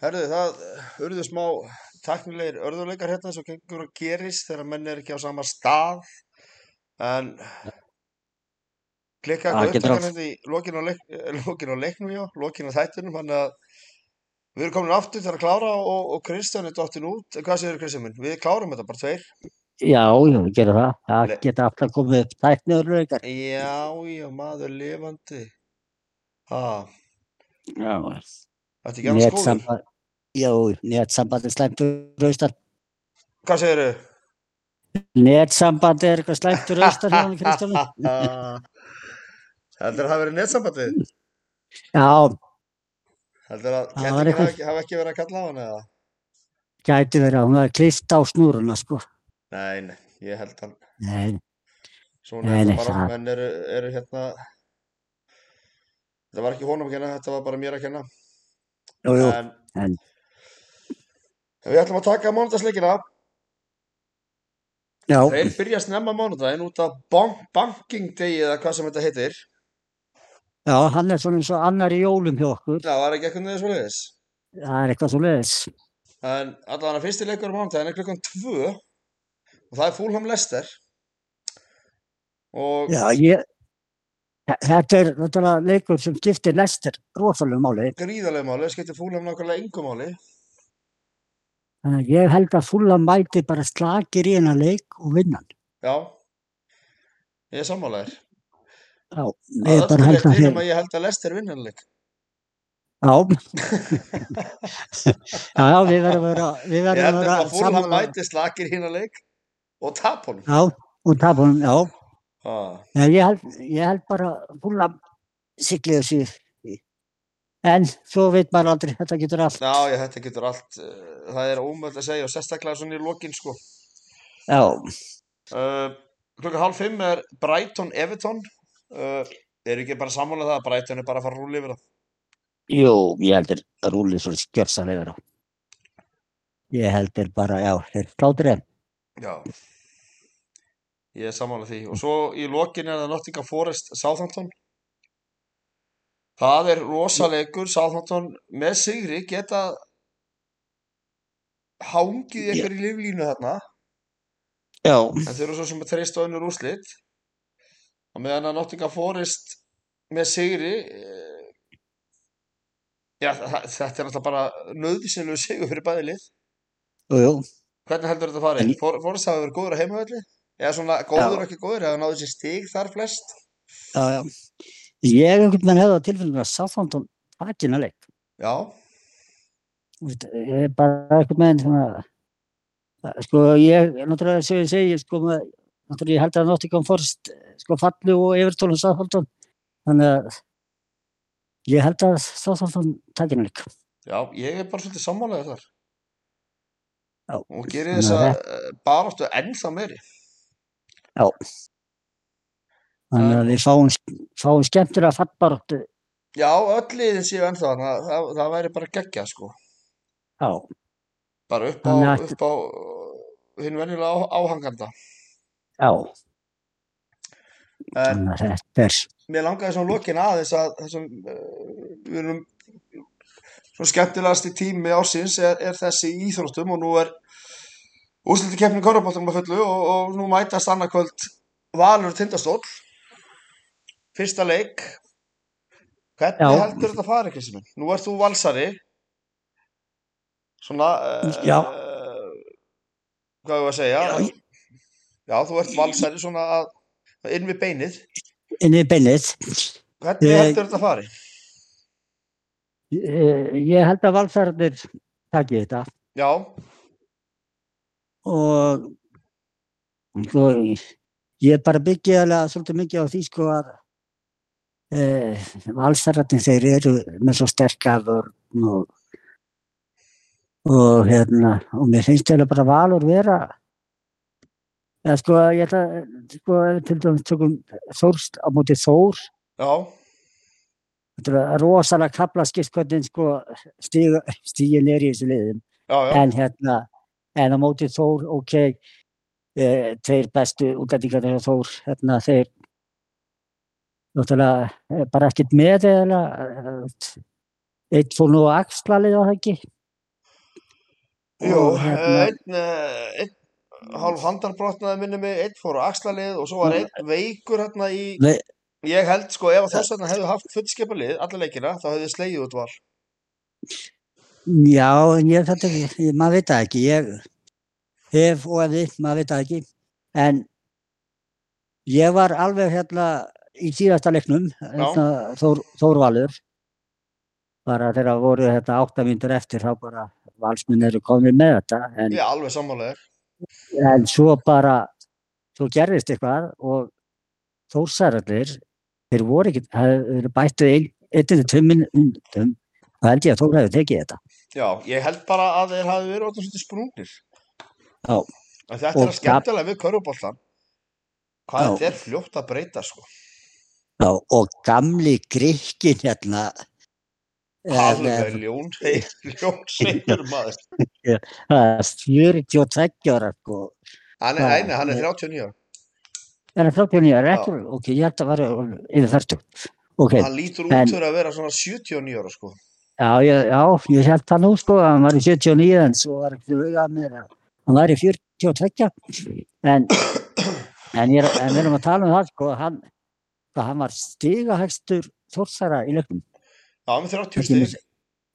Herðu, það urðu smá teknilegir örðuleikar hérna svo gengur og gerist þegar menn er ekki á sama stað en klikka Það eitthvað getur upptakan allt. hérna í lokin á, leik, eh, lokin á leiknum já, lokin á þættunum þannig að við erum komin aftur þegar að klára og, og Kristján er dottin út En hvað séður Kristján minn? Við klárum þetta bara tveir Já, já, við gerum það. Það Le- geta alltaf komið upp tækniðurleikar. Já, já, maður lifandi Ha, Já, þetta er ekki annars góður netsamband. Já, netsamband er slæmt úr austan. Hvað séður? Netsamband er eitthvað slæmt úr austan hjá hann Kristjánu. Heldur að hafa verið netsambandið? Já, Heldur að Það var kettingin eitthvað- hafi hafi ekki verið að kalla á hann eða? gæti verið að hún var klist á snúruna, sko. Nei, nei, ég held hann. Nei, Svona Nei, er nei, þetta bara, það- menn eru, eru hérna, þetta var ekki honum að kenna, þetta var bara mér að kenna. jú, jú, en, en- Við ætlum að taka mánudagsleikina. já, Þeir byrja snemma mánudaginn út af bank, banking degi eða hvað sem þetta heitir. já, hann er svona eins og annar í jólum hjá okkur. Það var ekki eitthvað neðið svo leiðis. Það er eitthvað svo leiðis. En allavega fyrsti leikur á mánudaginn er klukkan tvö og það er Fulham Lester. Og Já, ég, þetta er náttúrulega leikur sem skiptir lestir rosalega máli. gríðarlega máli, það skiptir Fúlham nákvæmlega engum máli Þannig að ég held að fulla mæti bara slakir í hennar leik og vinnan. já, ég er sammálaðir Já, að ég bara öllu held leyti að erum hér, að ég held að Lester vinnanleik já. já, já, við verðum að vera, við ég verðum held að vera að Fúlham mæti slakir hinn að leik og tap honum Já, og tapa hún, já. ah, Já, ég held, ég held bara fulla siglið þessu. í- En svo veit maður aldrei, þetta getur allt. já, ég, þetta getur allt uh, það er ómöld að segja og sérstaklega svona í lokin sko Já, uh, klukka hálf fimm er Brighton Everton uh, er ekki bara sammálað það að Brighton er bara að fara að rúli yfir það jú, ég heldur að rúlið svo skjörsanlega. Ég heldur bara, já, þeir klátur þeim. já ég er sammálað því og svo í lokin er það Nottingham Forest Southampton Það er rosalegur Southampton með sigri geta hangið Já. ykkur í liflínu þarna Já, en þeir eru svo sem að treysta á önnur úrslit og meðan að Nottingham Forest með sigri eh, já, þa- þetta er alltaf bara nöðsynlegu sigur fyrir bæði lið jú, jú. hvernig heldur þetta farið? En- For, Forest hafa verið góður að heimavelli eða svona góður og ekki góður eða náðu sér stig þar flest Já, já. Ég einhvern veginn hefði á tilfellinu að Southampton takin að leik. já, Þú veist, Ég er bara einhvern veginn svona, það- sko ég, náttúrulega sem ég segi, sko, með, náttúrulega ég held að Nottingham Forest, sko falli og Everton og Southampton, þannig að ég held að Southampton takin að leik. já, ég er bara svolítið sammálega þar Já, og gerir þannig þess að að baráttu ennþá meiri Þannig að við fáum, fáum skemmtur að fallbaráttu, já, öll liðin séu ennþá það, það, það væri bara geggja sko já, bara upp á, Þannig að- upp á uh, hinn venjulega á, áhanganda já, en þannig að þetta er, mér langaði svona lokin aðeins að þessum uh, við erum svona skemmtilegasti tími ársins er, er þessi í íþróttum og nú er úrslutu keppni korrabóttum að fullu og, og nú mætast annarkvöld Valur Tindastóll fyrsta leik hvernig Já. heldur þetta að fara ekki sem nú ert þú valsari svona uh, Já. hvað hefur að segja Já, ég- Já, þú ert valsari svona að að inn við beinið inni beinnið, hvernig Ég- heldur þetta að fara ég held að valsarðir taki þetta. já, og sko, ég bara byggja alveg svolítið mikið á því sko að e, valsararnir þeir eru með svo sterka vörn og, og hérna og mér finnst þeirra bara valur vera eða sko ég ætla sko ef við til dæmis tökum þórst á móti þór já, þetta er rosalega kaplaskipt hvernig sko stígin er í þessu liðum já, já en hérna en á móti Þór, ok eh, þeir bestu útlendingarnir og Þór, hérna þeir náttúrulega e, eh, bara ekkert með eða eh, einn fór nú að axla liða það ekki Jú, Og hérna- einn, eh, einn hálf handarbrotnaði minni mig, einn fór á axlalið og svo var einn veikur hérna í, Nei. ég held sko ef að þess vegna hefðu haft fullskipalið alla leikina þá hefðu slegið út val. Já, en ég þetta ekki, ég- maður veit það ekki, ég hef og ef við, maður veit það ekki, en ég var alveg hérna í síðasta leiknum, hérna, Þór, Þórvalur, bara þegar voru þetta áttamíndur eftir þá bara valsminn eru komin með þetta, en, Ég er alveg sammálaður. en svo bara, svo gerðist eitthvað og Þórsarallir, þeir voru ekki, þeir bættu ein- einnig tömmin undum, þá held ég að Þór hefði tekið þetta. Já, ég held bara að þeir hafi verið orðin svolítið sprungnir. Já. Af því Þetta er Og að skemmtilega við körfuboltan. Hvað Já. þetta er fljótt að breyta sko. Já, og gamli grikkin hérna. eh, Alveg ljón, ljón seinur maður. Það er 42 ára, sko. Hann er, Já. nei, nei, hann er 39 ára. Er það 39 ára, ekki? Ok, ég held að vera yfir 40. Ok, Hann lítur út En- fyrir að vera svona 79 ára sko. já, ég, já, ég held það nú, sko, að hann var í 79 en svo var ekki hugað með það. Hann var í 42, en, en, ég, er- en við erum að tala um það, sko, hann, hvað hann var stigahægstur þórsara í leiknum. Já, hann er 30 Ekki stig. mis-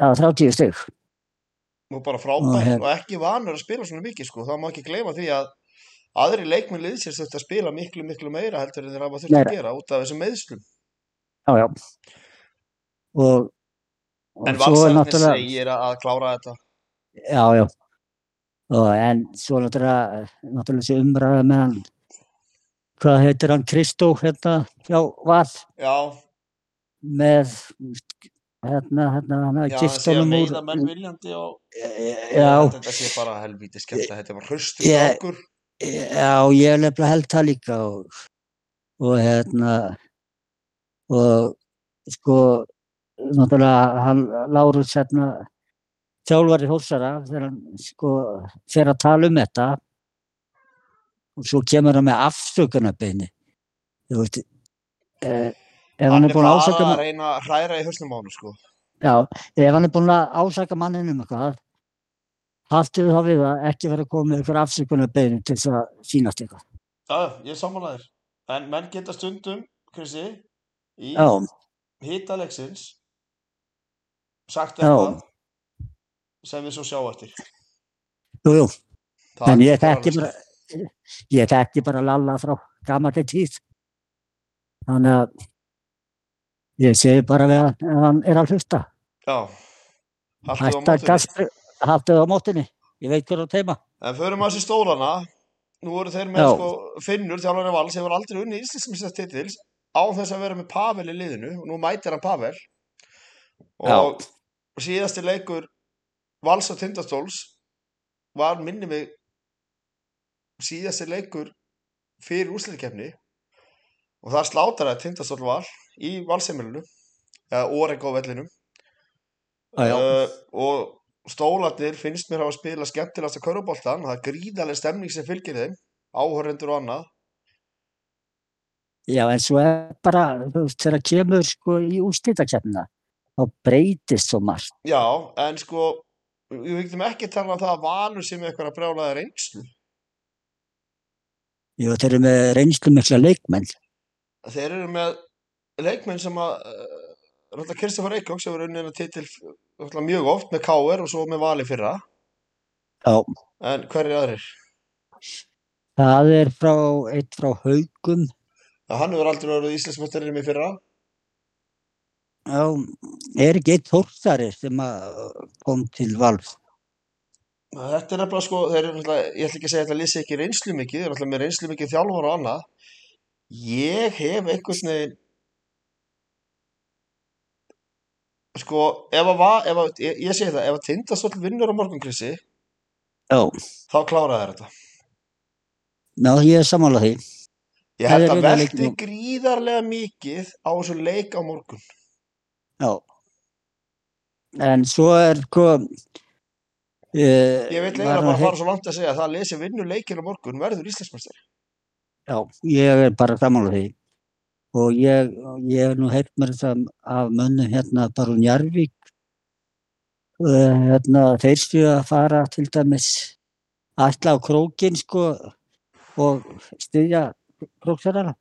Já, 30 stig. nú bara Og frábært hef- og ekki vanur að spila svona mikið sko, það má ekki gleyma því að aðri leikmenn liðsins þurfti að spila miklu, miklu meira heldur en þeir hafa þurfti að Meira. gera út af þessum meðslum. Já, já. Og, og En svo er valsarðinni náttúrulega... segir að að klára þetta. Já, já. Og en svo náttúrulega, eh, náttúrulega þessi umræða með hann, hvað heitir hann, Kristó, hérna, já, Val, Já, með, hérna, hérna, hann já, hafði hann gift segir að honum úr. meiða menn viljandi og Já, þetta sé bara helvítið skemmt að þetta var hrustu Ég- strákur. já, ég hef nefnilega held það líka og, og hérna, og sko, náttúrulega, hann, Lárus, hérna, þjálfari Hórsara, þegar hann, sko, fer að tala um þetta og svo kemur hann með afsökunarbeini, þú veist, eh, ef hann Hann er er búin að bara ásaka að mann, reyna að hræra í hausnum á hann sko. já, ef hann er búin að ásaka mannin um eitthvað, haldið þá við að ekki vera að koma með eitthvað afsökunarbeini til þess að sínast eitthvað. Já, ég er sammálaðir. En menn geta stundum, Krissi, í Já, hýtalegsins sagt Já. eitthvað sem við svo sjá eftir. jú, jú, Það en er ég þekki alveg- bara, ég þekki bara lalla frá gamalli tíð, þannig að ég segi bara við að ef hann er að hlusta, Já, haldið á hætta mótunni. gaspri, haldið á mótinni, ég veit hverju teima. En förum að þessi stólana, nú eru þeir með Já. sko, Finnur, þjálfari vals, hefur aldrei unni íslensmissast titils á þess að vera með Pavel í liðinu og nú mætir hann Pavel og síðasti leikur vals og tindastóls var minni mig síðasti leikur fyrir úrslitkefni og það slátraði tindastól val í valseimilinu eða Orego vellinum Já, já, uh, og stólarnir finnst mér hafa spila skemmtilegasta köruboltan það er gríðarlega stemning sem fylgir þeim áhorrendur og annað Já, en svo er bara, þú veist, þegar kemur sko í úrslitakefnina, þá breytist svo margt. já, en sko við veitum ekki að tala um það að Valur sem er eitthvað að brjálaða reynslu Jú, þeir eru með reynslu mikla leikmenn. þeir eru með leikmenn sem að uh, Rönda Kristoffer Eikóks hefur unnið hennar titil náttúrulega mjög oft með K.R. og svo með Vali fyrra Já, en hverju aðrir? það er frá, eitt frá haugum, Já, hann hefur aldrei verið Íslandsmestarinn í fyrra já, er ekki eitt þórþari sem að kom til valf. Þetta er nefnilega sko, þeir eru náttúrulega, ég ætla ekki að segja að þetta lýsi ekki reynslu mikið, þeir eru náttúrulega með reynslu mikið þjálfara og annað. Ég hef einhvern veginn, sko, ef að, va- ef að ég, ég segi það, ef að Tindastóll vinnur á morgunkrissi, Já, þá klára þeir þetta. ná, ég er sammála því. Ég held Þeir að vinna velti leikinn á- gríðarlega mikið á þessu leik á morgun. Já. En svo er, sko, eh, Ég ég veit leiðilega bara að fara svo langt að segja að það lesi vinnur leikin á morgun verður Íslandsmeistari. Já, ég er bara sammála því og ég, ég hef nú heyrt mér það af mönnum hérna bara um Jarvík Eh, hérna, þeir séu að fara til dæmis alltaf á krókin sko og styðja króksarana.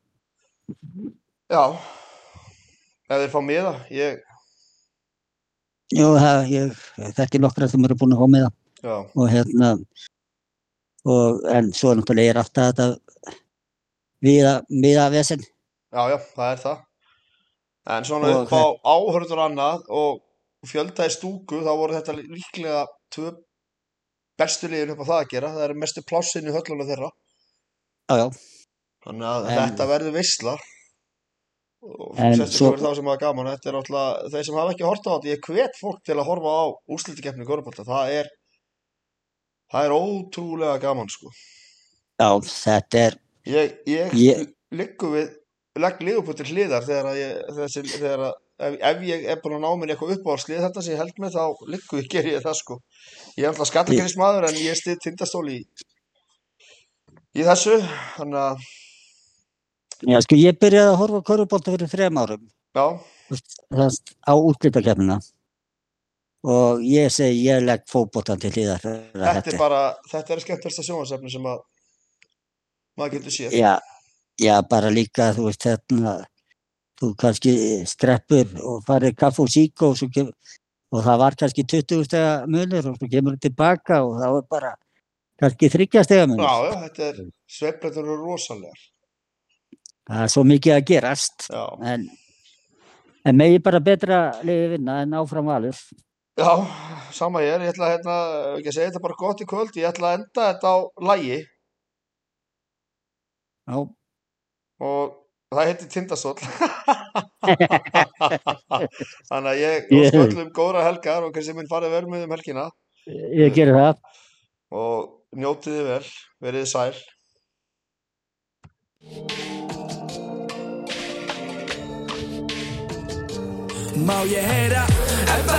Já, ef þeir fá miða, ég, Jú, það, ég þekki nokkra sem eru búin að fá með það já, og hérna og, en svo náttúrulega er alltaf þetta viða, viða vesen já, já, það er það. En svona Og upp á áhörður annað og fjölda í stúku, þá voru þetta líklega tvö bestu liðin upp á það að gera. Það er mestu plássin í höllunum þeirra. já, já, Þannig að En- þetta verður veisla. Og En sérstaklega svo- fyrir þá sem hafa gaman. Þetta er alltaf, þeir sem hafa ekki horta á þetta, ég hvet fólk til að horfa á úrslitikeppni í Gorabólta. Það er, það er ótrúlega gaman, sko. já, þetta er Ég, ég, Ég- liggu við, legg liðupúl til hliðar þegar að ég, þessi, þegar að, ef, ef ég er búin að ná mér í eitthvað uppáhaldslið þetta sem ég held með þá liggu ég ger ég það sko. Ég er alltaf skallagrismadur en ég stið tindastól í, í þessu, þannig að, já, sko, ég byrjaði að horfa á körfubólta fyrir þrem árum já, þannig á útlýtakefnina og ég segi ég legg fótbóltan til hliðar fyrir að þetta er bara, þetta er skemmtasta sjónvarsefni sem að maður getur séð. já, já, bara líka þú veist þetta þú kannski streppur og farir kaff og sík og svo kemur og það var kannski 20 stega munur og svo kemur þú tilbaka og þá er bara kannski 30 stega Já, munur já, þetta er, sveiflættur eru rosalegar, það er svo mikið að gerast já. en, en megi bara betra liði vinna en áfram valur Já, sama ég er, ég ætla að, hérna, ef ekki að segja þetta er bara gott í kvöld, ég ætla að enda þetta á lægi. Já, og það heitir Tindastóll þannig að ég Ég- óska öllum góðra helgar og kannski minn farið vel með um helgina ég gerir það og njótið þið vel, verið þið sæl Má ég heyra ef það